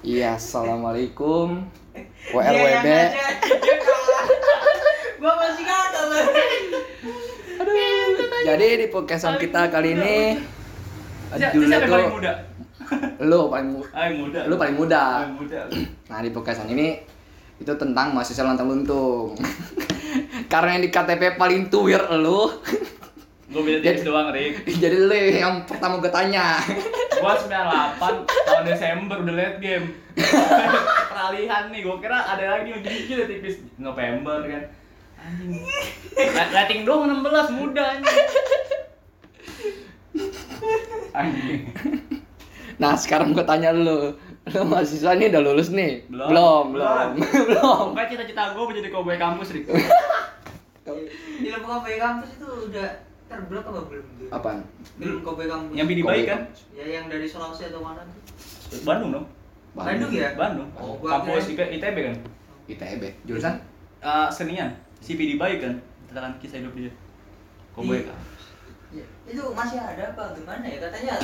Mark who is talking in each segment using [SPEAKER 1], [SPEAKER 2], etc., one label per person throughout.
[SPEAKER 1] Iya, assalamualaikum.
[SPEAKER 2] Dia Iya, yang
[SPEAKER 1] WLWB.
[SPEAKER 2] ngajak, dia kalah. Gua masih gagal.
[SPEAKER 1] Aduh. Jadi di podcastan
[SPEAKER 3] Paling
[SPEAKER 1] kita kali
[SPEAKER 3] muda,
[SPEAKER 1] ini
[SPEAKER 3] Siapa
[SPEAKER 1] judulnya
[SPEAKER 3] yang
[SPEAKER 1] tuh
[SPEAKER 3] paling muda?
[SPEAKER 1] lu paling mu-
[SPEAKER 3] Ay muda.
[SPEAKER 1] lu paling muda.
[SPEAKER 3] Paling muda.
[SPEAKER 1] Nah, di podcastan ini itu tentang mahasiswa lantang luntung. Karena yang di KTP paling tuwir lu.
[SPEAKER 3] Gue beda tipis doang, Rick.
[SPEAKER 1] Jadi lu yang pertama gue tanya.
[SPEAKER 3] Gua 98 tahun Desember udah late game. Peralihan nih, gua kira ada lagi yang jadi udah tipis November kan. Anjing. La- Rating doang 16 muda anjing. Anjing.
[SPEAKER 1] Nah, sekarang gue tanya lu. Lu mahasiswa nih udah lulus nih?
[SPEAKER 3] Belum.
[SPEAKER 1] belum. Belum.
[SPEAKER 3] Pokoknya cita-cita gua mau jadi cowboy kampus, Rick.
[SPEAKER 1] belum.
[SPEAKER 2] Di lampu kopi kampus itu udah terblok apa belum? tuh?
[SPEAKER 1] Apaan?
[SPEAKER 2] Belum kopi kampus.
[SPEAKER 3] Yang bini baik kan?
[SPEAKER 2] Ya yang dari Sulawesi atau mana tuh?
[SPEAKER 3] Bandung dong.
[SPEAKER 2] Bandung ya?
[SPEAKER 3] Bandung.
[SPEAKER 2] Oh, gua
[SPEAKER 3] Kampus
[SPEAKER 2] kira-
[SPEAKER 3] IP- ITB kan.
[SPEAKER 1] ITB. E Jurusan?
[SPEAKER 3] Eh, senian. CPD baik kan? Tentang kisah hidup dia. Cowboy
[SPEAKER 2] Iya.
[SPEAKER 3] kampus.
[SPEAKER 2] Ya, itu masih ada apa gimana ya katanya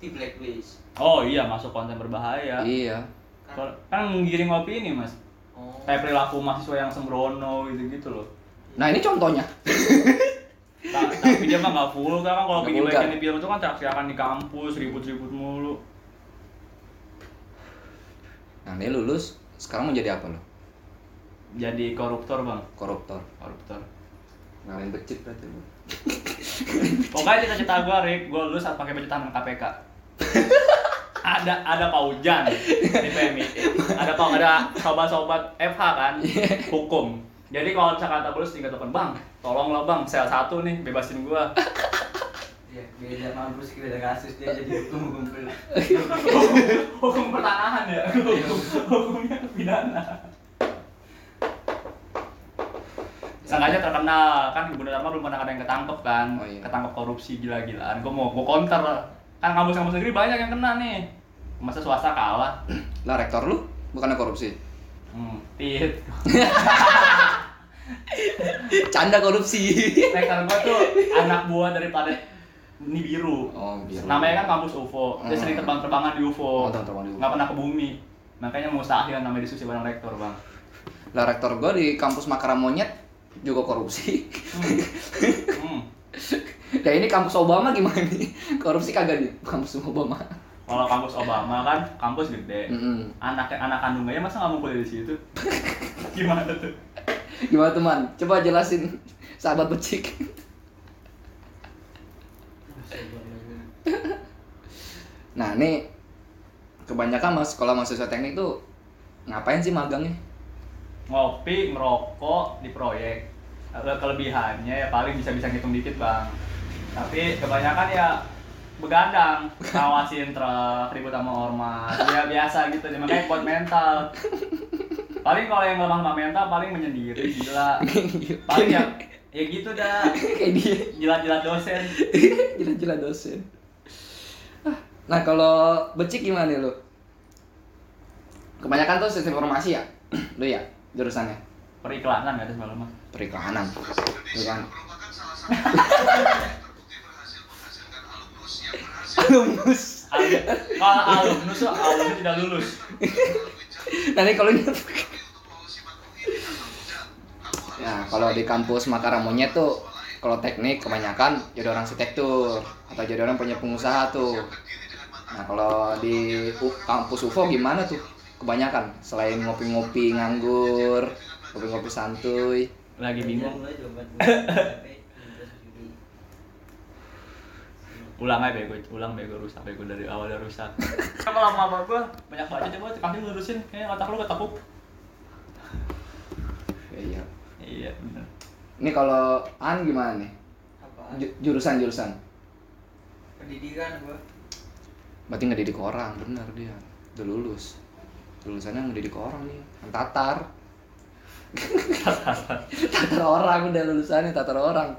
[SPEAKER 2] di blacklist.
[SPEAKER 3] Oh iya masuk konten berbahaya.
[SPEAKER 1] Iya.
[SPEAKER 3] Kalau- Kan menggiring opini mas.
[SPEAKER 2] Oh.
[SPEAKER 3] Kayak perilaku mahasiswa yang sembrono gitu-gitu loh.
[SPEAKER 1] Nah, ini contohnya.
[SPEAKER 3] Ta- tapi dia mah nggak full kan kalau
[SPEAKER 1] Nggak
[SPEAKER 3] pigi
[SPEAKER 1] vulgar.
[SPEAKER 3] baiknya di film itu kan teriak-teriakan di kampus ribut-ribut mulu.
[SPEAKER 1] Nah, dia lulus, sekarang mau jadi apa lo?
[SPEAKER 3] Jadi koruptor bang,
[SPEAKER 1] Koruptor.
[SPEAKER 3] koruptor.
[SPEAKER 1] Ngalahin becit berarti lo.
[SPEAKER 3] Pokoknya cita-cita gue Rick, gue lulus saat pakai baju tahanan KPK. ada ada Pak Ujan di PMI. Ada Pak ada sobat-sobat FH kan, hukum. Jadi kalau misalkan tak lulus tinggal telepon bang, tolonglah bang, sel satu nih bebasin gua.
[SPEAKER 2] Ya, beda mampus beda kasus dia jadi hukum kumpul.
[SPEAKER 3] hukum pertanahan ya hukumnya pidana Sangkanya terkenal kan Ibu Dharma belum pernah ada yang ketangkep kan
[SPEAKER 1] Oh, iya.
[SPEAKER 3] ketangkep korupsi gila-gilaan gue mau gue counter kan kampus-kampus negeri banyak yang kena nih masa swasta kalah
[SPEAKER 1] Lah rektor lu bukannya korupsi.
[SPEAKER 3] hmm, tit
[SPEAKER 1] Canda korupsi.
[SPEAKER 3] rektor gue tuh anak buah dari planet ini biru
[SPEAKER 1] Oh, biru.
[SPEAKER 3] namanya kan kampus UFO dia
[SPEAKER 1] Hmm.
[SPEAKER 3] sering terbang-terbangan di UFO
[SPEAKER 1] Oh, terbang-terbang di UFO.
[SPEAKER 3] nggak pernah ke bumi makanya mustahil namanya disusi bareng rektor bang
[SPEAKER 1] Lah rektor gua di kampus Makara Monyet juga korupsi.
[SPEAKER 3] Hmm. Hmm.
[SPEAKER 1] Nah, ini kampus Obama gimana nih? Korupsi kagak di kampus Obama.
[SPEAKER 3] Kalau kampus Obama kan kampus gede.
[SPEAKER 1] Mm-mm.
[SPEAKER 3] Anak anak kandungnya ya masa nggak mau kuliah di situ? Gimana tuh?
[SPEAKER 1] Gimana teman? Coba jelasin sahabat becik. Nah, ini kebanyakan mas sekolah mahasiswa teknik tuh ngapain sih magangnya?
[SPEAKER 3] Ngopi, merokok di proyek. Ke- Kelebihannya ya paling bisa-bisa ngitung dikit bang. Tapi kebanyakan ya begadang, ngawasin truk, ribut sama ormas, ya biasa gitu. Dia Makanya kuat mental. Paling kalau yang lemah sama mental paling menyendiri gila. Paling ya ya gitu dah.
[SPEAKER 1] Kayak dia
[SPEAKER 3] Jilat-jilat dosen.
[SPEAKER 1] jelas-jelas dosen. Ah, Nah, kalau becik gimana nih lu? Kebanyakan tuh sistem informasi ya? Lu ya jurusannya?
[SPEAKER 3] Periklanan ya, gak ada semalam Bang?
[SPEAKER 1] Periklanan. Periklanan. Alumnus.
[SPEAKER 3] Alumni- Kalau alumnus tuh alumnus tidak lulus.
[SPEAKER 1] Nanti kalau ini Nah, kalau di kampus Makara Monyet tuh kalau teknik kebanyakan jadi orang arsitektur atau jadi orang punya pengusaha tuh. Nah, kalau di U- kampus UFO gimana tuh? Kebanyakan selain ngopi-ngopi nganggur, ngopi-ngopi santuy.
[SPEAKER 3] Lagi bingung.
[SPEAKER 2] Mulai coba.
[SPEAKER 3] Ulang aja bego, ulang bego rusak, bego dari awal udah rusak. Kalau lama-lama gua banyak baca coba kasih lurusin, kayaknya otak lu ketekuk.
[SPEAKER 1] Ya, Iya.
[SPEAKER 3] Iya, bener.
[SPEAKER 1] Ini kalau An gimana nih?
[SPEAKER 2] Apa?
[SPEAKER 1] Ju- Jurusan-jurusan.
[SPEAKER 2] Pendidikan gua.
[SPEAKER 1] Berarti ngedidik orang, bener dia. Udah lulus. Lulusannya ngedidik orang nih. Tatar. tatar orang udah lulusannya tatar orang.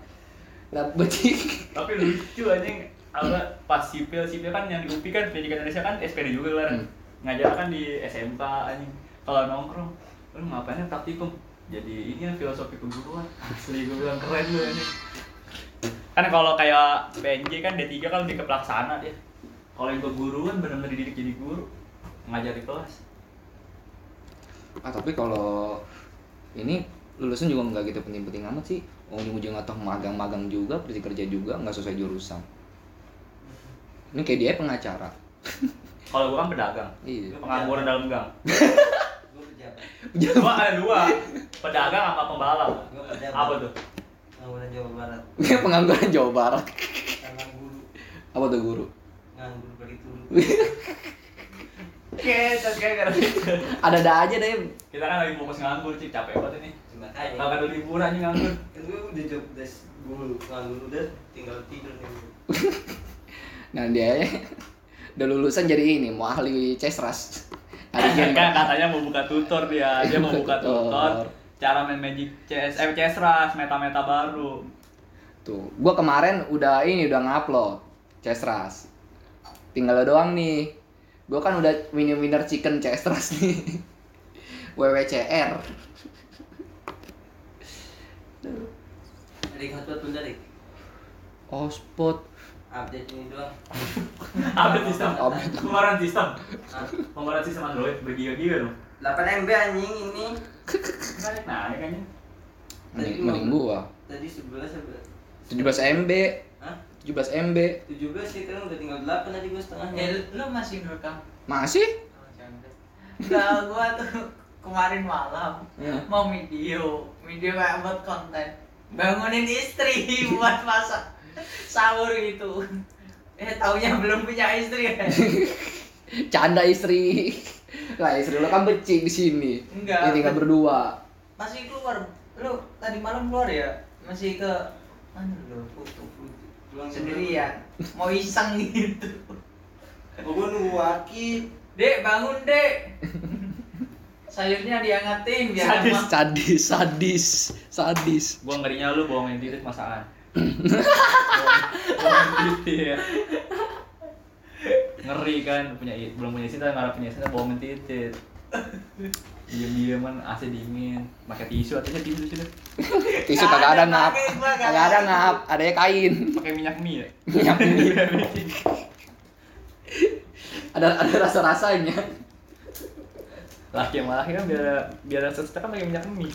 [SPEAKER 1] Lah becik.
[SPEAKER 3] Tapi lucu anjing apa pas sipil sipil kan yang di UPI kan pendidikan Indonesia kan SPD juga kan
[SPEAKER 1] Hmm.
[SPEAKER 3] ngajar kan di SMK anjing kalau nongkrong lu ngapain ya praktikum jadi ini ya filosofi keguruan asli gue bilang keren lu anjing kan kalau kayak PNJ kan D3 kan lebih ke pelaksana dia kalau yang keguruan benar-benar dididik jadi guru ngajar di kelas
[SPEAKER 1] ah tapi kalau ini lulusan juga nggak gitu penting-penting amat sih ujung-ujung atau magang-magang juga pergi kerja juga nggak sesuai jurusan ini kayak dia pengacara
[SPEAKER 3] Kalau gua kan pedagang.
[SPEAKER 1] iya
[SPEAKER 3] Pengangguran dalam gang.
[SPEAKER 2] Gue pejabat.
[SPEAKER 3] Gua ada dua. Pedagang sama pembalap.
[SPEAKER 2] Gue pejabat.
[SPEAKER 3] Apa tuh?
[SPEAKER 2] Pengangguran Jawa Barat.
[SPEAKER 1] ini pengangguran Jawa Barat
[SPEAKER 2] Tangan bulu.
[SPEAKER 1] apa tuh guru
[SPEAKER 2] Nganggur begitu.
[SPEAKER 3] Oke, gitu. oke,
[SPEAKER 1] ada ada aja deh
[SPEAKER 3] Kita kan lagi fokus nganggur, cik capek banget ini.
[SPEAKER 2] Makanya.
[SPEAKER 3] Kagak ada liburan aja nganggur.
[SPEAKER 2] Kan gue udah job desk gue nganggur udah tinggal tidur nih.
[SPEAKER 1] nah dia udah lulusan jadi ini mau ahli cesras Ahli
[SPEAKER 3] Kan
[SPEAKER 1] game.
[SPEAKER 3] katanya mau buka tutor dia, dia mau buka tutor cara main Magic CS, eh, CS Rush, meta-meta baru.
[SPEAKER 1] Tuh, gua kemarin udah ini udah ngupload Cestras. Tinggal lo doang nih. Gua kan udah winner winner chicken Cestras nih. WWCR.
[SPEAKER 2] Dari hotspot pun dari.
[SPEAKER 1] Oh, Ospot.
[SPEAKER 2] Update ini doang.
[SPEAKER 3] Update sistem,
[SPEAKER 1] Update.
[SPEAKER 3] pengeluaran sistem,
[SPEAKER 2] Ah,
[SPEAKER 3] pengeluaran sistem Android bergiga-giga dong.
[SPEAKER 2] 8 MB anjing ini.
[SPEAKER 3] Nah, ini kayaknya.
[SPEAKER 1] Mending, mending gua.
[SPEAKER 2] Tadi 11 apa?
[SPEAKER 1] 17 MB,
[SPEAKER 2] Hah?
[SPEAKER 1] 17 MB.
[SPEAKER 2] 17 sih sekarang udah tinggal 8 tadi gue setengahnya.
[SPEAKER 4] Ya lu masih ngerekam
[SPEAKER 1] Masih?
[SPEAKER 4] Kalau gua tuh kemarin malam
[SPEAKER 1] Iya.
[SPEAKER 4] mau video, video kayak buat konten. Bangunin istri buat masak sahur gitu. Eh taunya belum punya istri kan?
[SPEAKER 1] Canda istri. Lah istri lo kan becik di sini.
[SPEAKER 4] Enggak.
[SPEAKER 1] Ini tinggal berdua.
[SPEAKER 4] Masih keluar. Lu tadi malam keluar ya? Masih ke mana lu?
[SPEAKER 2] Pulang
[SPEAKER 4] Sendirian. Mau iseng gitu.
[SPEAKER 2] Oh gue nunggu wakil.
[SPEAKER 4] Dek bangun dek. Sayurnya
[SPEAKER 1] Iya,
[SPEAKER 4] diangatin biar
[SPEAKER 3] Sadis.
[SPEAKER 4] lama.
[SPEAKER 1] Sadis, sadis, sadis.
[SPEAKER 3] Gua ngerinya lu bohongin titik masakan. Bohongin- bohongin titik. ya. Ngeri kan punya i- belum punya istri tapi ngarep punya istri bohongin titik. Diam-diaman AC dingin, pakai tisu artinya tisu sudah.
[SPEAKER 1] Tisu kagak ada ngap. Kagak ada ngap, adanya kain.
[SPEAKER 3] Pakai minyak mie ya.
[SPEAKER 1] Minyak mie.
[SPEAKER 3] Biar bikin.
[SPEAKER 1] ada ada rasa rasanya
[SPEAKER 3] Laki sama laki kan biar biar rasa cita kan pakai minyak mie.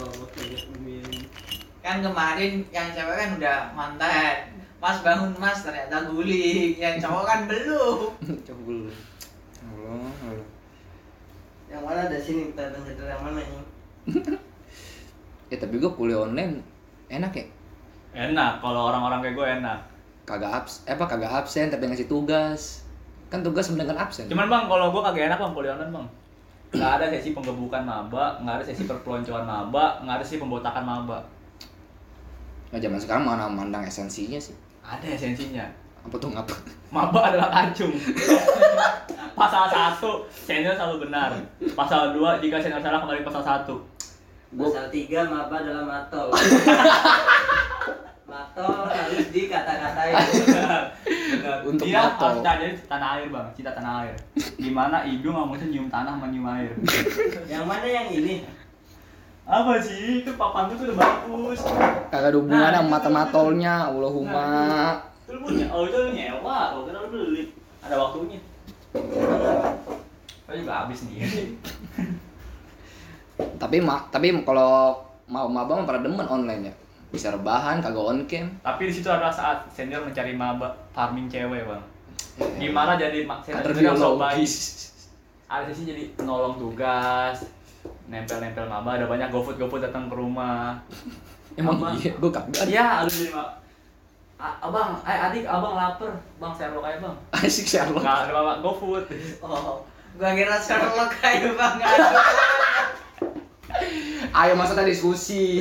[SPEAKER 2] Oh makanya umi ini.
[SPEAKER 4] kan kemarin yang cewek kan udah mantan mas bangun mas ternyata guling yang cowok kan belum
[SPEAKER 1] coba dulu Allah Allah
[SPEAKER 2] Yang mana ada sini kita tanya dari yang mana ini?
[SPEAKER 1] ya tapi gue kuliah online enak ya
[SPEAKER 3] Enak kalau orang-orang kayak gue enak.
[SPEAKER 1] kagak abs eh apa kagak absen tapi ngasih tugas kan tugas sama dengan absen
[SPEAKER 3] Cuman bang, kalau gue kagak enak bang kuliah online bang. Gak ada sesi penggebukan maba, gak ada sesi perpeloncoan maba, gak ada sesi pembotakan maba.
[SPEAKER 1] nah zaman sekarang mana mandang esensinya sih
[SPEAKER 3] Ada esensinya.
[SPEAKER 1] apa tuh ngapa
[SPEAKER 3] Maba adalah kacung. pasal 1, senior selalu benar. Pasal 2, jika senior salah kembali pasal 1.
[SPEAKER 1] Gua-
[SPEAKER 2] Pasal 3 maba dalam atol. matol harus dikata-katain.
[SPEAKER 3] Benar.
[SPEAKER 1] Untuk
[SPEAKER 3] Dia
[SPEAKER 1] Nato.
[SPEAKER 3] harus jadi tanah air, Bang. Cinta tanah air. Di mana hidung sama mulut nyium tanah sama nyium air.
[SPEAKER 2] yang mana yang ini?
[SPEAKER 3] Apa sih? Itu papan itu udah bagus.
[SPEAKER 1] kagak ada hubungan
[SPEAKER 3] Nah,
[SPEAKER 1] sama
[SPEAKER 3] itu-
[SPEAKER 1] mata matolnya Allahumma
[SPEAKER 3] Itu lu punya. Oh, itu lu nyewa. Kalau kira lu beli. Ada waktunya. Kau juga habis nih.
[SPEAKER 1] tapi ma tapi kalau mau maba mah pada demen online ya bisa rebahan kagak on cam
[SPEAKER 3] Tapi di situ adalah saat senior mencari maba farming cewek, Bang. Gimana jadi mak senior
[SPEAKER 1] Kader
[SPEAKER 3] itu yang sok baik.
[SPEAKER 1] biologis
[SPEAKER 3] ada sih jadi nolong tugas nempel-nempel maba ada banyak gofood gofood datang ke rumah
[SPEAKER 1] emang
[SPEAKER 3] Apa?
[SPEAKER 1] iya gue kagak
[SPEAKER 3] iya harus jadi maba A- abang eh adik abang lapar bang Sherlock aja bang
[SPEAKER 1] asik Sherlock
[SPEAKER 3] nggak ada maba gofood
[SPEAKER 4] oh gua kira Sherlock kayak bang Aduh.
[SPEAKER 1] ayo masa kita diskusi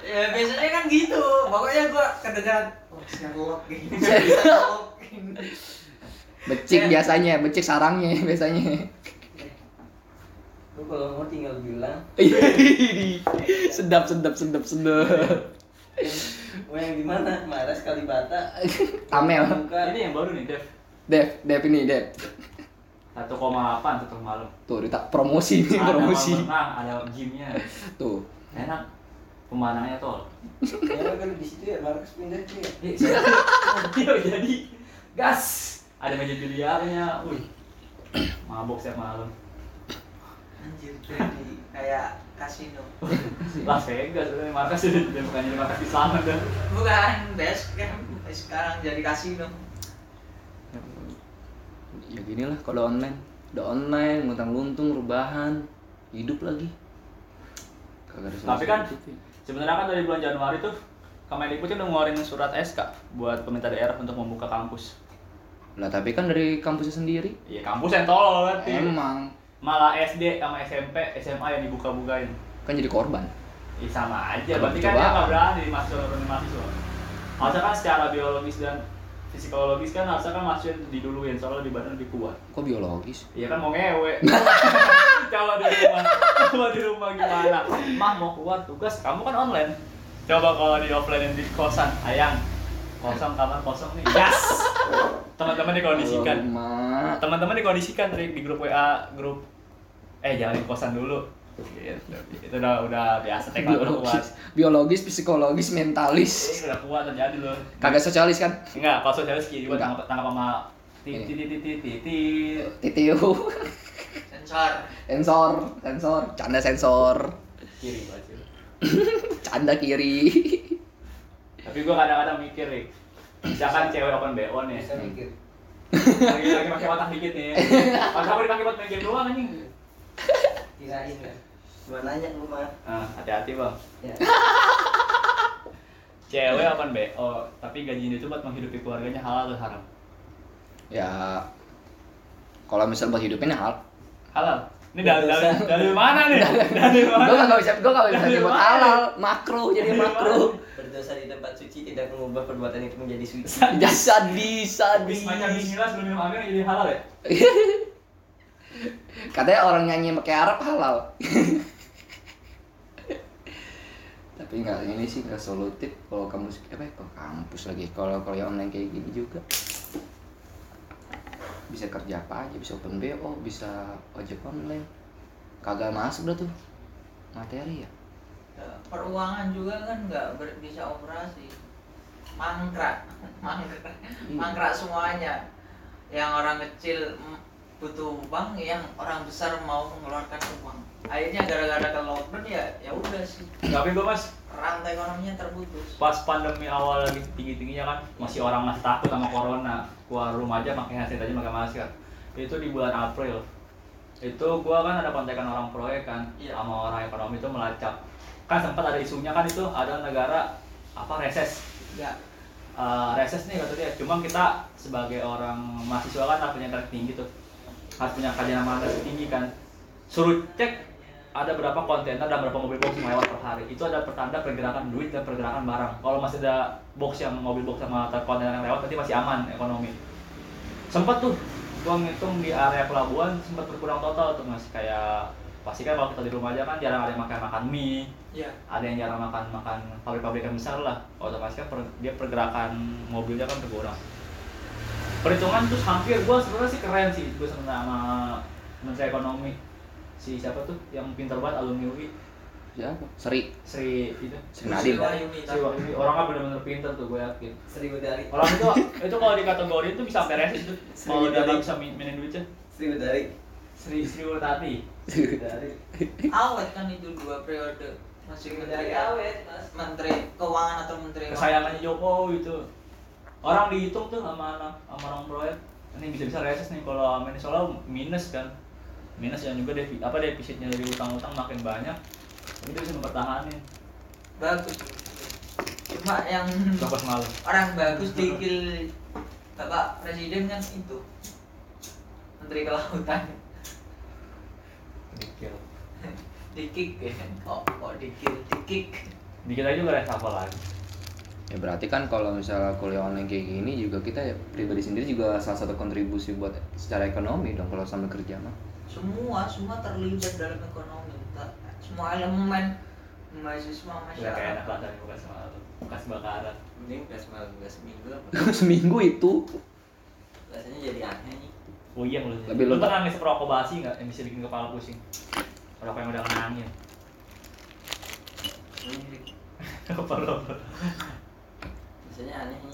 [SPEAKER 4] ya biasanya kan gitu pokoknya gua kedengeran oh Sherlock gini Sherlock gini.
[SPEAKER 1] Becik biasanya, becik sarangnya biasanya.
[SPEAKER 2] Lu kalau mau tinggal bilang.
[SPEAKER 1] sedap, sedap, sedap, sedap.
[SPEAKER 2] Mau yang di mana? Maras Kalibata.
[SPEAKER 1] Amel,
[SPEAKER 2] Buka.
[SPEAKER 3] ini yang baru nih Dev
[SPEAKER 1] Dev, Dev ini Dev.
[SPEAKER 3] 1,8 satu malam
[SPEAKER 1] Tuh, ditak promosi nih,
[SPEAKER 3] ada kolam
[SPEAKER 1] promosi.
[SPEAKER 3] renang ada gymnya
[SPEAKER 1] Tuh,
[SPEAKER 3] enak pemandangannya tol
[SPEAKER 2] Ya kan di situ ya Maras pindah tuh ya.
[SPEAKER 3] Ini senior iya, jadi gas ada meja biliarnya wih mabok setiap malam
[SPEAKER 4] anjir jadi kayak kasino
[SPEAKER 3] Las Vegas, eh, markas jadi dia bukan jadi markas di sana dah.
[SPEAKER 4] bukan best camp sekarang jadi kasino
[SPEAKER 1] ya gini lah kalau online udah online ngutang luntung rubahan hidup lagi kagak ada
[SPEAKER 3] Tapi kan
[SPEAKER 1] gitu.
[SPEAKER 3] sebenarnya kan dari bulan Januari tuh Kemendikbud kan udah ngeluarin surat SK buat pemerintah daerah untuk membuka kampus.
[SPEAKER 1] lah tapi kan dari kampusnya sendiri
[SPEAKER 3] Iya kampus yang tolol berarti.
[SPEAKER 1] emang
[SPEAKER 3] Malah SD sama SMP, SMA yang dibuka-bukain.
[SPEAKER 1] kan jadi korban
[SPEAKER 3] Ya sama aja,
[SPEAKER 1] Kalau
[SPEAKER 3] berarti kan dia
[SPEAKER 1] percobaan.
[SPEAKER 3] nggak berani masuk ke mahasiswa. Masa kan secara biologis dan fisikologis kan harusnya kan masuk diduluin soalnya lebih badan lebih kuat.
[SPEAKER 1] kok biologis
[SPEAKER 3] Iya kan mau ngewe. Coba di rumah, coba di rumah gimana? Mah mau keluar tugas, kamu kan online. Coba kalau di offline di kosan, ayang kosong kamar kosong nih. Yes. Teman-teman dikondisikan.
[SPEAKER 1] Alamak.
[SPEAKER 3] Teman-teman dikondisikan Rick, di grup WA, grup eh jangan di kosan dulu. Gitu. Itu udah udah biasa tekad udah kuat.
[SPEAKER 1] biologis biologis psikologis mentalis
[SPEAKER 3] Udah kuat terjadi loh.
[SPEAKER 1] kagak sosialis kan
[SPEAKER 3] Enggak, kalau sosial skill juga
[SPEAKER 1] Enggak.
[SPEAKER 3] tangkap tangkap sama titit titit titit titit.
[SPEAKER 1] TTU
[SPEAKER 4] sensor
[SPEAKER 1] sensor sensor canda sensor
[SPEAKER 3] kiri baju.
[SPEAKER 1] canda kiri
[SPEAKER 3] Tapi gue kadang-kadang mikir, Rik. Misalkan cewek open BO nih.
[SPEAKER 2] Bisa mikir.
[SPEAKER 3] Lagi-lagi pakai watak dikit nih. Kalau kamu dipakai buat main game doang anjing.
[SPEAKER 2] Kirain ya. Gua nanya lu mah.
[SPEAKER 3] Nah, hati-hati, Bang.
[SPEAKER 2] Ya.
[SPEAKER 3] Cewek open BO, tapi gajinya itu buat menghidupi keluarganya halal atau haram?
[SPEAKER 1] ya kalau misal buat hidupin hal
[SPEAKER 3] Halal. Ini dari dari dari mana nih? Dari mana?
[SPEAKER 1] gue gak bisa gue gak bisa
[SPEAKER 3] Dari
[SPEAKER 1] nyebut
[SPEAKER 3] mana?
[SPEAKER 1] halal makro jadi
[SPEAKER 3] Dari
[SPEAKER 1] makro
[SPEAKER 2] Berdosa di tempat suci tidak mengubah perbuatan itu menjadi suci.
[SPEAKER 1] ya sadis
[SPEAKER 3] Bis
[SPEAKER 1] sadis
[SPEAKER 3] macam bismillah sebelum minum angin jadi halal ya?
[SPEAKER 1] katanya orang nyanyi pakai Arab halal tapi nggak ini sih nggak solutif kalau kampus apa ya, kalau kampus lagi kalau kalau yang online kayak gini juga bisa kerja apa aja bisa open bo bisa ojek online kagak masuk dah tuh materi ya
[SPEAKER 4] Ya, peruangan juga kan nggak ber- bisa operasi mangkrak mangkrak mangkrak semuanya yang orang kecil mm, butuh uang yang orang besar mau mengeluarkan uang akhirnya gara-gara ke lockdown ya ya udah sih
[SPEAKER 3] Tapi gue mas,
[SPEAKER 4] rantai ekonominya terputus
[SPEAKER 3] pas pandemi awal lagi tinggi-tingginya kan masih orang masih takut sama corona keluar rumah aja pakai headset aja pakai masker itu di bulan April itu gua kan ada kontekan orang proyek kan
[SPEAKER 4] Iya.
[SPEAKER 3] sama orang ekonomi itu melacak kan sempat ada isunya kan itu ada negara apa reses
[SPEAKER 4] ya
[SPEAKER 3] Eh, reses nih kata dia cuma kita sebagai orang mahasiswa kan harus punya internet tinggi tuh harus punya kajian amanah tinggi kan suruh cek ada berapa kontainer dan berapa mobil box yang lewat per hari itu ada pertanda pergerakan duit dan pergerakan barang kalau masih ada box yang mobil box sama kontainer yang lewat berarti masih aman ekonomi sempat tuh gua ngitung di area pelabuhan sempat berkurang total tuh mas kayak pasti kan kalau kita di rumah aja kan jarang ada yang makan makan mie
[SPEAKER 4] ya
[SPEAKER 3] ada yang jarang makan makan pabrik-pabrikan besar lah otomatis kan per- dia pergerakan mobilnya kan berkurang perhitungan terus hampir gua sebenarnya sih keren sih gua sebenarnya sama menteri ekonomi si siapa tuh yang pintar banget alumni UI
[SPEAKER 1] siapa seri
[SPEAKER 3] Sri itu
[SPEAKER 1] Sri Nadiem
[SPEAKER 3] Sri Wahyuni orangnya bener-bener pintar tuh gue yakin
[SPEAKER 2] Seribu dari.
[SPEAKER 3] orang itu itu kalau dikategorin tuh bisa sampai resis tuh kalau dia nggak bisa main- mainin duitnya
[SPEAKER 2] Seribu dari.
[SPEAKER 3] Sri Sri Utati
[SPEAKER 2] Dari.
[SPEAKER 4] awet kan itu dua periode
[SPEAKER 2] Iya,
[SPEAKER 4] masih menteri
[SPEAKER 2] mas.
[SPEAKER 4] menteri keuangan atau menteri
[SPEAKER 3] kesayangannya Jokowi itu orang dihitung tuh sama anak sama orang proyek ini bisa-bisa reses nih kalau sama ini soalnya minus kan minus yang juga defi, apa defisitnya dari utang-utang makin banyak itu bisa mempertahankan
[SPEAKER 4] bagus cuma yang
[SPEAKER 3] bagus malu
[SPEAKER 4] orang bagus dikil bapak presiden kan itu menteri kelautan
[SPEAKER 3] dikit
[SPEAKER 4] dikik ya kok kok dikil dikik
[SPEAKER 3] dikit aja udah reshuffle lagi
[SPEAKER 1] ya berarti kan kalau misalnya kuliah online kayak gini juga kita ya, pribadi sendiri juga salah satu kontribusi buat secara ekonomi dong kalau sambil kerja mah
[SPEAKER 4] semua semua terlibat dalam ekonomi Ta- semua elemen mahasiswa
[SPEAKER 3] udah kayak
[SPEAKER 4] masyarakat
[SPEAKER 3] anak lantar yang bekas malu bekas bakaran
[SPEAKER 2] Mending gas malam gas minggu apa?
[SPEAKER 1] seminggu itu
[SPEAKER 2] Rasanya jadi aneh nih.
[SPEAKER 3] puyeng lu
[SPEAKER 1] Lebih
[SPEAKER 3] Oh iya, lu
[SPEAKER 1] lembab.
[SPEAKER 3] pernah ngisep rokok basi nggak yang bisa bikin kepala pusing rokok yang udah nangis
[SPEAKER 2] Mirip.
[SPEAKER 3] apa rokok
[SPEAKER 2] Rasanya aneh nih.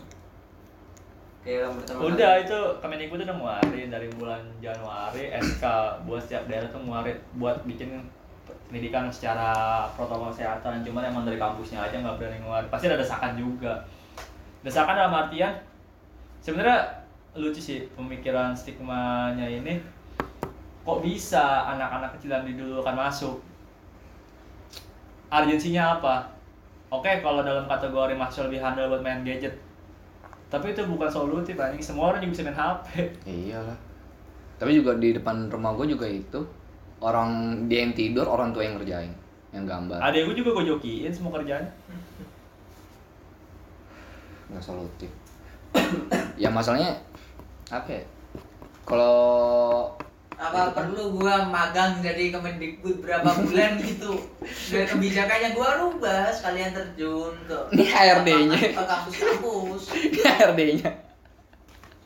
[SPEAKER 2] kayak orang berteman
[SPEAKER 3] Udah itu Kemendikbud udah ngeluarin dari bulan Januari SK buat setiap daerah tuh ngeluarin buat bikin pendidikan secara protokol kesehatan cuman emang dari kampusnya aja nggak berani ngeluarin pasti ada desakan juga desakan dalam artian sebenarnya lucu sih pemikiran stigmanya ini kok bisa anak-anak kecil yang didulukan masuk urgensinya apa oke kalau dalam kategori masih lebih handal buat main gadget tapi itu bukan solutif anjing semua orang juga bisa main HP
[SPEAKER 1] Iyalah. Tapi juga di depan rumah gue juga itu orang dia yang tidur orang tua yang ngerjain yang gambar
[SPEAKER 3] adek gue juga gue jokiin semua kerjaan
[SPEAKER 1] nggak solutif ya masalahnya apa ya? kalau
[SPEAKER 4] apa perlu gua magang dari Kemendikbud berapa bulan gitu biar kebijakannya gua rubah sekalian terjun ke
[SPEAKER 1] Ini HRD-nya.
[SPEAKER 4] ke kampus-kampus
[SPEAKER 1] HRD nya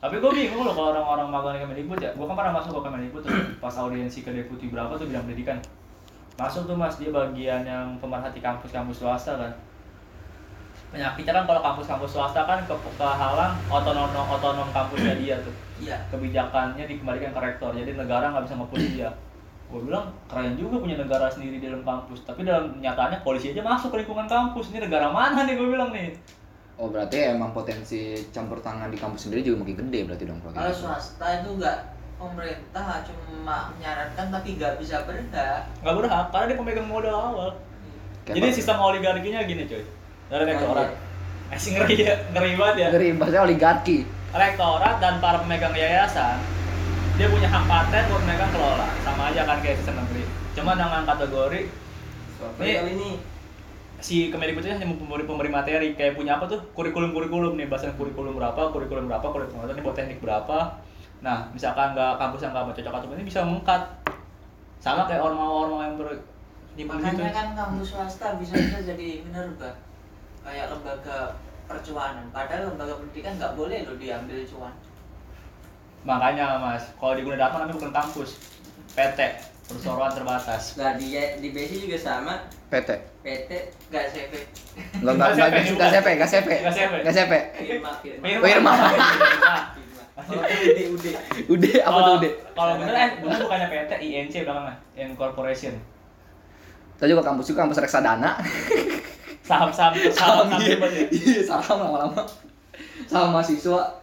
[SPEAKER 3] tapi gue bingung loh kalau orang-orang magang di Kemendikbud ya gue kan pernah masuk ke Kemendikbud tuh pas audiensi ke deputi berapa tuh bidang pendidikan masuk tuh mas dia bagian yang pemerhati kampus-kampus swasta kan penyakitnya kan kalau kampus-kampus swasta kan ke kehalang otonom otonom kampusnya dia tuh
[SPEAKER 4] iya
[SPEAKER 3] kebijakannya dikembalikan ke rektor jadi negara nggak bisa ngepush dia gue bilang keren juga punya negara sendiri di dalam kampus tapi dalam nyataannya polisi aja masuk ke lingkungan kampus ini negara mana nih gue bilang nih
[SPEAKER 1] oh berarti emang potensi campur tangan di kampus sendiri juga makin gede berarti dong kalau kayak
[SPEAKER 4] kalau
[SPEAKER 1] gitu.
[SPEAKER 4] swasta itu enggak pemerintah cuma menyarankan tapi nggak bisa berhak
[SPEAKER 3] nggak berhak karena dia pemegang modal awal
[SPEAKER 1] Kayak
[SPEAKER 3] jadi
[SPEAKER 1] apa?
[SPEAKER 3] sistem oligarkinya gini coy dari rektorat asing ngeri ya ngeri banget ya
[SPEAKER 1] dari imbasnya oligarki
[SPEAKER 3] rektorat dan para pemegang yayasan dia punya hak paten buat mereka kelola sama aja kan kayak sistem negeri cuma dengan kategori
[SPEAKER 2] Suatu
[SPEAKER 3] Nih.
[SPEAKER 2] kali ini
[SPEAKER 3] si Kemendikbud itu hanya memberi, pemberi materi kayak punya apa tuh kurikulum-kurikulum nih bahasan kurikulum berapa kurikulum berapa kurikulum berapa ini buat teknik berapa nah misalkan nggak kampus yang nggak cocok atau ini bisa mengkat sama kayak orma-orma yang ber di
[SPEAKER 4] makanya
[SPEAKER 3] situ.
[SPEAKER 4] kan kampus swasta bisa bisa jadi minerba kayak lembaga percuanan padahal lembaga pendidikan nggak boleh loh diambil cuan
[SPEAKER 3] makanya mas kalau di Gunadarma namanya bukan kampus PT perseroan terbatas
[SPEAKER 2] nah di di BC juga sama
[SPEAKER 1] PT
[SPEAKER 2] PT
[SPEAKER 4] nggak CV
[SPEAKER 1] nggak nggak nggak
[SPEAKER 3] Nggak
[SPEAKER 1] nggak CP nggak CP
[SPEAKER 3] Nggak CP.
[SPEAKER 1] nggak CP
[SPEAKER 4] firma firma
[SPEAKER 1] Oh, Irma.
[SPEAKER 3] Irma.
[SPEAKER 1] Oh,
[SPEAKER 2] kalau UD UD
[SPEAKER 1] udah apa tuh
[SPEAKER 3] Kalau-
[SPEAKER 1] udah
[SPEAKER 3] Kalau bener eh bener bukannya PT INC belakangnya, yang corporation.
[SPEAKER 1] Tadi juga kampus juga kampus reksadana
[SPEAKER 3] Saham-saham saham saham
[SPEAKER 1] iya.
[SPEAKER 3] bebas ya.
[SPEAKER 1] Iya, saham lama-lama. Saham mahasiswa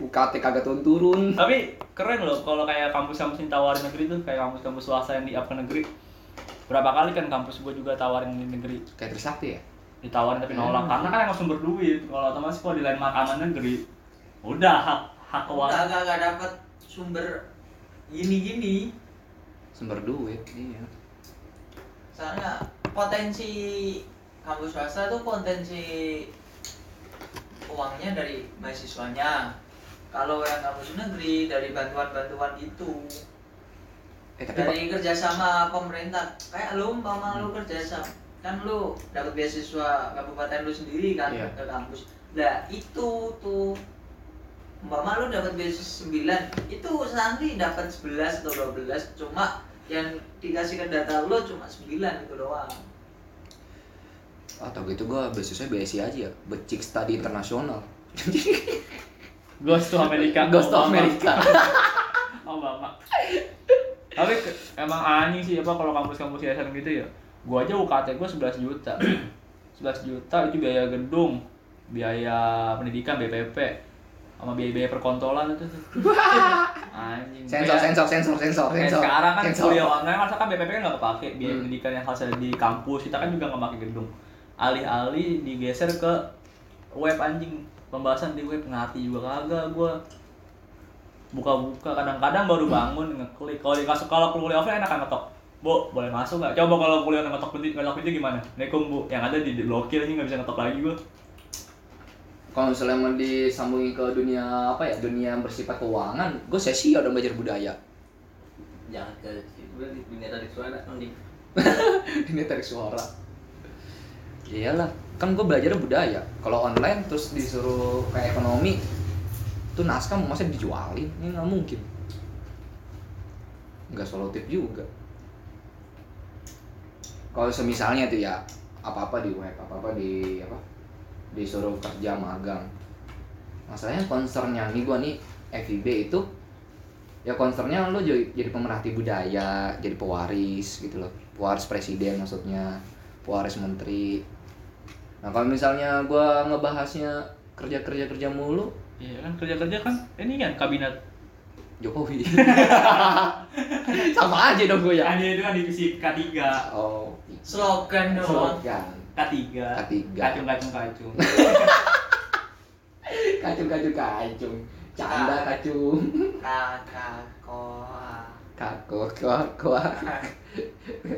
[SPEAKER 1] UKT kagak turun-turun.
[SPEAKER 3] Tapi keren loh kalau kayak kampus-kampus yang tawarin negeri tuh kayak kampus-kampus swasta yang di up ke negeri. Berapa kali kan kampus gua juga tawarin di negeri
[SPEAKER 1] Kayak Trisakti ya?
[SPEAKER 3] ditawarin tapi nolak karena kan emang sumber duit. Kalau otomatis kalau di lain makanan negeri udah hak hak
[SPEAKER 4] nggak
[SPEAKER 3] keuangan.
[SPEAKER 4] nggak nggak dapat sumber gini gini
[SPEAKER 1] Sumber duit. Iya.
[SPEAKER 4] soalnya potensi kampus swasta tuh potensi uangnya dari mahasiswanya kalau yang kampus negeri dari bantuan-bantuan itu
[SPEAKER 1] Eh tapi Pak,
[SPEAKER 4] dari kerjasama pemerintah kayak lu umpama lu kerjasama kan lu dapat beasiswa kabupaten lu sendiri kan
[SPEAKER 1] Iya.
[SPEAKER 4] ke kampus nah itu tuh umpama lu dapat beasiswa 9 itu santri dapat 11 atau 12 cuma yang dikasih ke data lu cuma 9 itu doang
[SPEAKER 1] atau gitu gua beasiswa BSI aja ya. Becik Study Internasional.
[SPEAKER 3] Ghost to America.
[SPEAKER 1] Ghost to
[SPEAKER 3] Obama.
[SPEAKER 1] America.
[SPEAKER 3] Obama. Oh, Tapi ke- emang anjing sih apa kalau kampus-kampus yayasan gitu ya. Gua aja UKT gua 11 juta. 11 juta itu biaya gedung, biaya pendidikan BPP sama biaya-biaya perkontolan itu. anjing.
[SPEAKER 1] Sensor,
[SPEAKER 3] Kayak-
[SPEAKER 1] sensor, sensor, sensor,
[SPEAKER 3] kayak
[SPEAKER 1] sensor.
[SPEAKER 3] sekarang kan
[SPEAKER 1] sensor.
[SPEAKER 3] kuliah online masa kan BPP kan nggak kepake biaya
[SPEAKER 1] Hmm.
[SPEAKER 3] pendidikan yang harus ada di kampus kita kan juga nggak pakai gedung alih-alih digeser ke web anjing pembahasan di web ngerti juga kagak gua buka-buka kadang-kadang baru bangun ngeklik kalau dikasih kalau kuliah offline enak kan ngetok bu boleh masuk nggak coba kalau kuliah online ngetok pintu ngetok pintu gimana nekom bu yang ada di blokir aja nggak bisa ngetok lagi gua
[SPEAKER 1] Kalau misalnya mau disambungin ke dunia apa ya? Dunia yang bersifat keuangan, gua sesi ya udah belajar budaya.
[SPEAKER 2] jangan ke berarti dunia tarik suara mending
[SPEAKER 1] dunia tarik suara. Iyalah, kan gua belajar budaya. Kalau online terus disuruh ke ekonomi, tuh naskah mau masa dijualin? Ini nggak mungkin. Nggak solutif juga. Kalau semisalnya tuh ya apa-apa di web, apa-apa di apa disuruh kerja magang. masalahnya concernnya nih gua nih FIB itu ya concernnya lo jadi, jadi pemerhati budaya jadi pewaris gitu loh pewaris presiden maksudnya pewaris menteri nah kalau misalnya gua ngebahasnya kerja kerja kerja mulu
[SPEAKER 3] Iya kan kerja-kerja kan ini kan kabinet.
[SPEAKER 1] Jokowi sama aja dong gue ya
[SPEAKER 3] Yang itu kan divisi K3,
[SPEAKER 1] oh iya.
[SPEAKER 4] slogan doang
[SPEAKER 1] slogan
[SPEAKER 3] K3,
[SPEAKER 1] K3.
[SPEAKER 3] kacung kacung kacung.
[SPEAKER 1] kacung kacung kacung canda
[SPEAKER 4] Ah.
[SPEAKER 1] kacung
[SPEAKER 4] kakak koa
[SPEAKER 1] kakak kakak kakak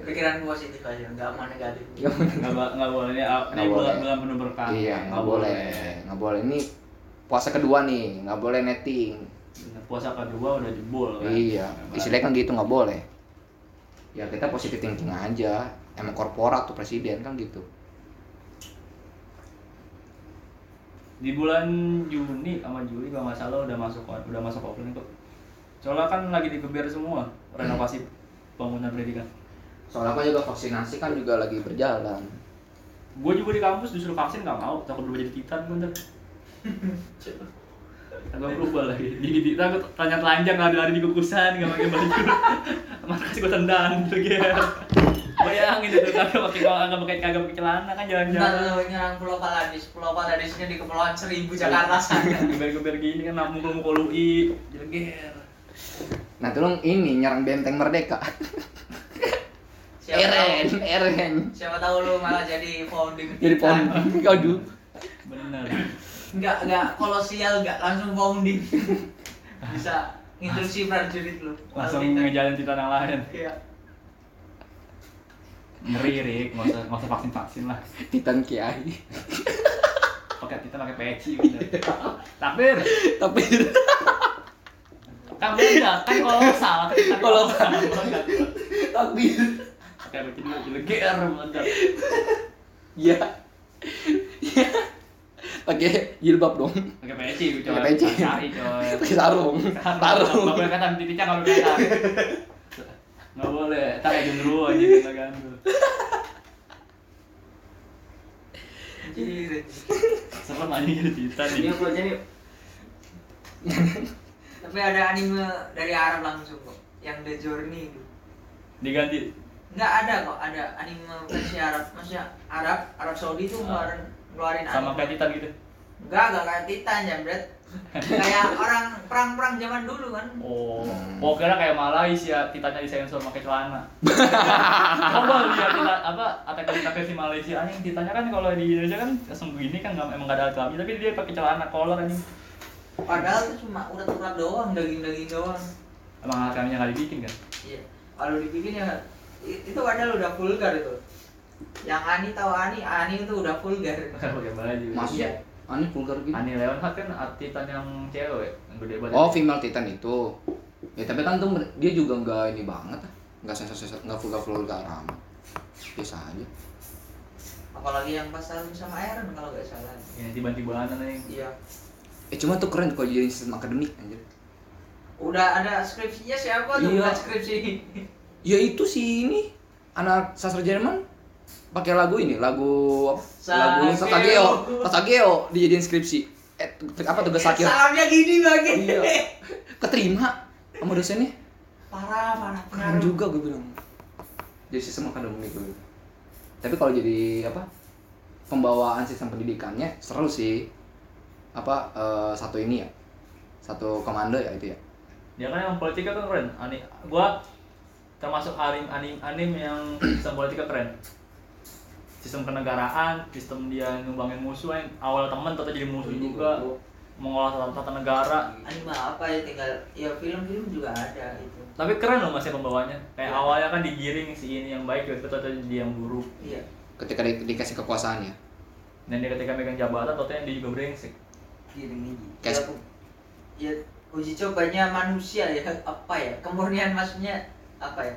[SPEAKER 4] pikiran positif aja nggak mau negatif
[SPEAKER 3] Nggak ba- nggak boleh ini, ah, ini
[SPEAKER 1] Nggak
[SPEAKER 3] bulan
[SPEAKER 1] boleh.
[SPEAKER 3] bulan penuh berkah.
[SPEAKER 1] Iya, nggak boleh, nggak boleh. Ini puasa kedua nih, nggak boleh netting.
[SPEAKER 3] Bener, Puasa kedua udah jebol kan.
[SPEAKER 1] Iya,
[SPEAKER 3] Nah,
[SPEAKER 1] istilahnya kan gitu nggak boleh. Ya kita positive thinking aja. Emang korporat tuh presiden kan gitu.
[SPEAKER 3] Di bulan Juni sama Juli kalau nggak salah udah masuk udah masuk offline kok. Soalnya kan lagi digeber semua renovasi
[SPEAKER 1] Hmm.
[SPEAKER 3] bangunan pendidikan.
[SPEAKER 1] Soalnya kan juga vaksinasi kan juga lagi berjalan.
[SPEAKER 3] Gue juga di kampus disuruh vaksin nggak mau, takut berubah jadi titan gue ntar. Agak berubah lagi. Jadi titan gue tanya telanjang lari-lari di kukusan nggak pakai baju. Mata kasih gue tendang gitu gitu. Bayangin itu kagak pakai kagak pakai kagak pakai celana kan
[SPEAKER 4] ntar
[SPEAKER 3] jalan-jalan.
[SPEAKER 4] lu nyerang pulau paladis pulau paladisnya di kepulauan seribu jakarta sana
[SPEAKER 3] Geber-geber gini kan mukul-mukul UI, jeleger.
[SPEAKER 1] Nah, tolong ini nyerang benteng merdeka.
[SPEAKER 4] siapa
[SPEAKER 1] Eren,
[SPEAKER 4] tahu
[SPEAKER 1] Eren.
[SPEAKER 4] siapa tahu lu malah jadi founding
[SPEAKER 1] Jadi pohon.
[SPEAKER 4] titan.
[SPEAKER 1] Aduh.
[SPEAKER 3] Bener.
[SPEAKER 4] nggak nggak kolosial nggak langsung founding bisa instruksi prajurit lu
[SPEAKER 3] Langsung
[SPEAKER 4] Lalu kita-
[SPEAKER 3] ngejalan titan yang lain.
[SPEAKER 4] iya
[SPEAKER 3] Ngeri, Rik. Nggak usah, nggak usah vaksin-vaksin lah.
[SPEAKER 1] Titan Kiai.
[SPEAKER 3] Pakai titan pakai peci gitu.
[SPEAKER 4] Iya.
[SPEAKER 3] Takbir!
[SPEAKER 1] Tapi
[SPEAKER 3] Kan meledak, kan kolosal. Kan kolosal.
[SPEAKER 1] tapi
[SPEAKER 3] Pakai peci dulu, jeleger. Meledak.
[SPEAKER 1] ya. Ya. Pakai jilbab dong.
[SPEAKER 3] Pakai peci, coy.
[SPEAKER 1] Pakai peci.
[SPEAKER 3] Sari, coy.
[SPEAKER 1] Pakai sarung. Sarung.
[SPEAKER 3] Nggak boleh kata titiknya nggak boleh kata. Nggak boleh. Tak kayak gendruwo aja kita ganggu.
[SPEAKER 4] jadi
[SPEAKER 3] Serem aja jadi titan
[SPEAKER 4] Iya,
[SPEAKER 3] nih.
[SPEAKER 4] Bro, jadi Tapi ada anime dari Arab langsung kok, yang The Journey itu.
[SPEAKER 3] Diganti.
[SPEAKER 4] Nggak ada kok, ada anime versi Arab. Maksudnya Arab, Arab Saudi tuh ngeluarin ngeluarin
[SPEAKER 3] Ah. Sama
[SPEAKER 4] anime.
[SPEAKER 3] kayak titan gitu.
[SPEAKER 4] Nggak, nggak kayak Titan ya, Brad. kayak orang perang-perang zaman dulu kan.
[SPEAKER 3] Oh,
[SPEAKER 1] Hmm.
[SPEAKER 3] oh kira kayak Malaysia, titannya disensor pakai celana. Coba lihat titan apa attack on Titan versi Malaysia anjing titannya kan kalau di Indonesia kan langsung begini kan nggak- emang nggak ada celana tapi dia pakai celana kolor anjing.
[SPEAKER 4] Padahal itu cuma urat-urat doang, daging-daging doang.
[SPEAKER 3] Emang agamanya nggak dibikin kan?
[SPEAKER 4] Iya. Kalau dibikin ya i- itu padahal udah vulgar itu. Yang Ani tahu Ani, Ani itu udah vulgar.
[SPEAKER 3] Bukan pakai baju.
[SPEAKER 1] Masuk. Aneh vulgar gitu.
[SPEAKER 3] Ani Leon Hart Iya. kan titan yang cewek yang gede banget.
[SPEAKER 1] Oh, female titan itu. Ya tapi kan tuh mer- dia juga nggak ini banget, nggak sensor-sensor, nggak vulgar-vulgar amat. Biasa aja.
[SPEAKER 4] Apalagi yang pas salin sama Iron kalau nggak salah.
[SPEAKER 3] Ya tiba-tibaan anjing.
[SPEAKER 4] Iya.
[SPEAKER 1] Eh cuma tuh keren kalau jadi sistem akademik anjir.
[SPEAKER 4] Udah ada skripsinya siapa tuh
[SPEAKER 1] Iya.
[SPEAKER 4] buat skripsi?
[SPEAKER 1] Ya itu sih ini anak sastra Jerman pakai lagu ini, lagu apa? Lagu
[SPEAKER 4] Sakeo.
[SPEAKER 1] Sasageo. Sasageo dijadiin skripsi. Eh tu- apa tugas Sakio?
[SPEAKER 4] Salamnya gini bagi.
[SPEAKER 1] Iya. Keterima sama dosennya.
[SPEAKER 4] Parah, parah
[SPEAKER 1] Keren
[SPEAKER 4] pengaruh.
[SPEAKER 1] juga gue bilang. Jadi sistem akademik gue. Tapi kalau jadi apa? Pembawaan sistem pendidikannya seru sih. Apa eh, satu ini ya? Satu komando ya itu ya.
[SPEAKER 3] Dia kan yang politika kan keren. Ani gua termasuk anim anim anim yang sistem politika keren. Sistem kenegaraan, sistem dia numbangin musuh yang awal temen tetap jadi musuh juga. Mengolah tata, tata negara.
[SPEAKER 4] Anime apa ya tinggal ya film-film juga ada itu.
[SPEAKER 3] Tapi keren loh masih pembawanya. Kayak
[SPEAKER 4] Iya.
[SPEAKER 3] awalnya kan digiring si ini yang baik, tiba-tiba tetap jadi yang buruk.
[SPEAKER 4] Iya.
[SPEAKER 1] Ketika di- dikasih ya. kekuasaannya.
[SPEAKER 3] Dan dia ketika megang jabatan, tetap dia juga brengsek.
[SPEAKER 4] Gini gini.
[SPEAKER 1] Kes-
[SPEAKER 4] Ya, ya uji cobanya manusia ya apa ya kemurnian maksudnya apa ya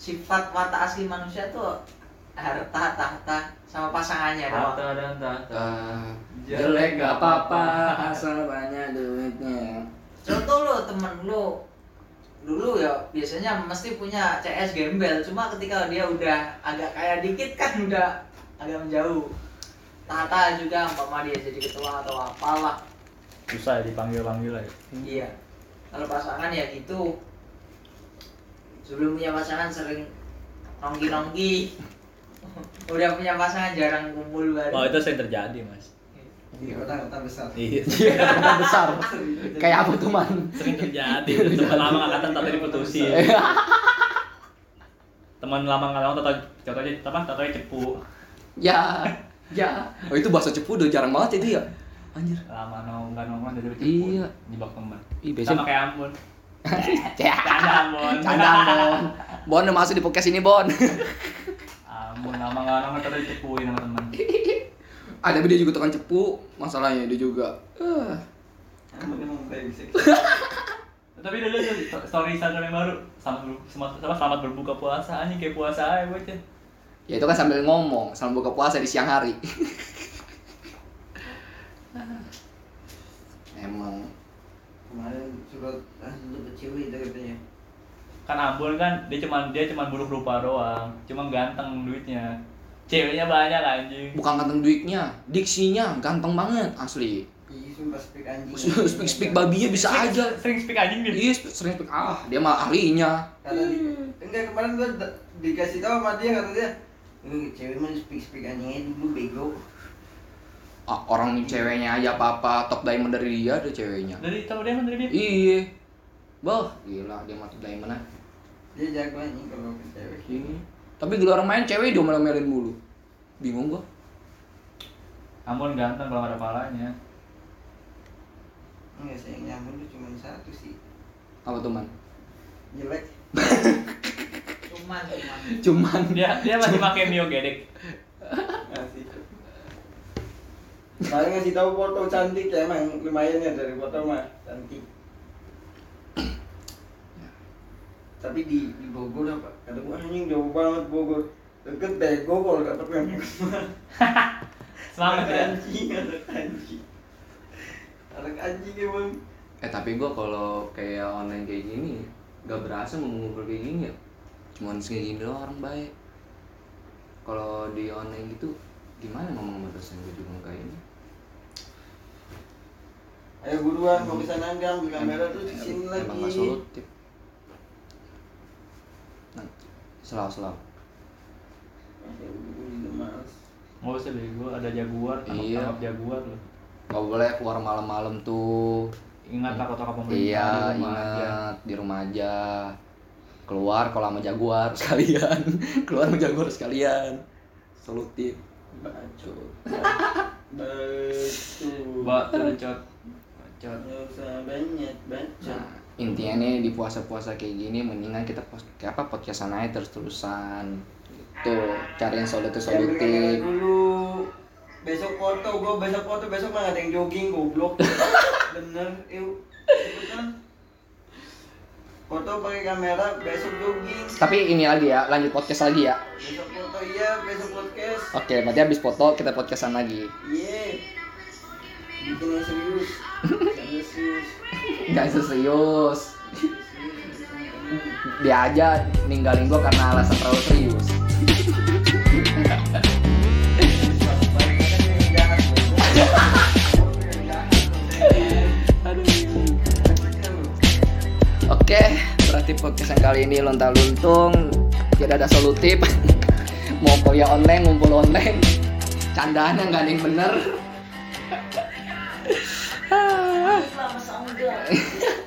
[SPEAKER 4] sifat mata asli manusia tuh harta tahta sama pasangannya doang
[SPEAKER 3] Tata dan tata.
[SPEAKER 1] Eh,
[SPEAKER 3] Iya. Jelek nggak apa-apa,
[SPEAKER 1] asal banyak duitnya.
[SPEAKER 4] contoh lo temen lo dulu ya biasanya mesti punya CS gembel cuma ketika dia udah agak kaya dikit kan udah agak menjauh Tata juga umpama dia jadi ketua atau apalah
[SPEAKER 3] susah ya dipanggil-panggil aja.
[SPEAKER 4] Iya. Kalau pasangan ya gitu. Sebelum punya pasangan sering nongki-nongki. Udah punya pasangan jarang kumpul bareng.
[SPEAKER 3] Oh itu sering terjadi mas.
[SPEAKER 2] di kota-kota besar
[SPEAKER 3] Iya.
[SPEAKER 1] Kota besar. Kayak apa tuh man?
[SPEAKER 3] sering terjadi. Teman lama nggak datang tapi diputusin.
[SPEAKER 1] Iya.
[SPEAKER 3] Teman lama nggak datang tahu contohnya apa? Contohnya cepu.
[SPEAKER 1] ya, ya. Oh itu bahasa cepu udah jarang banget jadi ya. Anjir.
[SPEAKER 3] Lama nong nggak nongkrong jadi cepu.
[SPEAKER 1] Iya.
[SPEAKER 3] Jebak teman.
[SPEAKER 1] Ih, biasanya-
[SPEAKER 3] Sama kayak Ambon.
[SPEAKER 1] Canda
[SPEAKER 3] Canda Ambon.
[SPEAKER 1] Bon. Bon udah masuk di podcast ini Bon.
[SPEAKER 3] Ambon lama nggak nongkrong tapi dicepuin sama teman.
[SPEAKER 1] Ada Ah, dia juga tukang cepu, masalahnya dia juga. Eh,
[SPEAKER 5] Kamu emang kayak bisa.
[SPEAKER 3] Tapi udah lihat tuh story Instagram yang baru selamat ber- selamat, apa, selamat berbuka puasa anjing kayak puasa aja bocah.
[SPEAKER 1] ya itu kan sambil ngomong, sambil buka puasa di siang hari. Emang
[SPEAKER 2] kemarin surat langsung untuk kecil itu katanya
[SPEAKER 3] kan Ambon kan dia cuman dia cuman buruk rupa doang cuman ganteng duitnya ceweknya banyak anjing
[SPEAKER 1] bukan ganteng duitnya, diksinya ganteng banget asli.
[SPEAKER 2] iya sumpah speak anjing
[SPEAKER 1] Speak speak babinya bisa
[SPEAKER 3] Sering-
[SPEAKER 1] aja.
[SPEAKER 3] sering speak anjing dia
[SPEAKER 1] Iya, sering speak ah, dia malah ahlinya.
[SPEAKER 2] kata dia enggak kemarin gua da- dikasih tahu sama dia kata dia "Eh, cewek mah speak speak anjingnya dulu bego
[SPEAKER 1] Ah, orang ceweknya aja apa-apa top diamond dari dia tuh ceweknya.
[SPEAKER 3] dari tahu dia kan dari dia
[SPEAKER 1] Iya. Bah, gila dia mah top diamond ah.
[SPEAKER 2] dia jago anjing kalau ke cewek
[SPEAKER 1] Ini. Tapi gila orang main cewek dia melin mulu. Bingung gua.
[SPEAKER 3] Ambon ganteng kalau nggak ada palanya
[SPEAKER 2] enggak sayangnya aku tuh cuma satu sih
[SPEAKER 1] Apa tuh man?
[SPEAKER 2] jelek
[SPEAKER 4] Cuman cuman.
[SPEAKER 1] Cuman
[SPEAKER 3] dia dia masih pakai mio gedek
[SPEAKER 2] Asik. Saya ngasih tahu foto cantik ya emang lumayan ya dari foto mah cantik. Tapi di di Bogor apa? Kata gua anjing jauh banget Bogor. Deket bego kalau kata gua yang
[SPEAKER 3] selamat ya
[SPEAKER 2] anjing, anak anjing. Anak anjing emang.
[SPEAKER 1] eh tapi gua kalau kayak online kayak gini gak berasa mau ngumpul kayak gini ya. Cuman segini doang orang baik. Kalau di online gitu gimana ngomong sama dosen gua juga kayak ini?
[SPEAKER 2] Ayo buruan mau ke sana enggak ambil kamera tuh di sini lagi.
[SPEAKER 1] Emang gak solutif. Nah, selalu selalu.
[SPEAKER 2] Aduh, udah males.
[SPEAKER 3] nggak usah bego ada jaguar tangkap
[SPEAKER 1] Iya.
[SPEAKER 3] tangkap jaguar loh
[SPEAKER 1] Gak boleh keluar malam-malam tuh.
[SPEAKER 3] ingat takut takut pemerintah
[SPEAKER 1] Iya,
[SPEAKER 3] di rumah aja.
[SPEAKER 1] ingat di rumah aja. Keluar kalau sama jaguar sekalian. Keluar sama jaguar sekalian. Solutif.
[SPEAKER 2] Bacot. Bacot.
[SPEAKER 3] mbak tercot tercot
[SPEAKER 2] Nggak usah banyak bacot.
[SPEAKER 1] Nah, intinya nih di puasa-puasa kayak gini mendingan kita pos kayak apa podcastan aja terus-terusan. Gitu, cari yang solutif
[SPEAKER 2] Ya, beli kamera
[SPEAKER 1] solutif.
[SPEAKER 2] dulu besok foto gua besok foto besok mah nggak ada yang jogging goblok bener yuk kan foto pakai kamera besok jogging
[SPEAKER 1] Tapi ini lagi ya, lanjut podcast lagi ya.
[SPEAKER 2] besok foto iya besok podcast
[SPEAKER 1] Oke, berarti habis foto kita podcastan lagi.
[SPEAKER 2] iya bikin yang serius Yang serius
[SPEAKER 1] Gak serius.
[SPEAKER 2] yang serius, yang serius.
[SPEAKER 1] Dia aja ninggalin gua karena alasan terlalu serius.
[SPEAKER 2] Yang jahat, goblok.
[SPEAKER 1] Oke, berarti podcast yang kali ini lontar luntung tidak ada solutif. Mau kuliah online, ngumpul online, candaan yang nggak ada yang bener.
[SPEAKER 4] Lama sama enggak.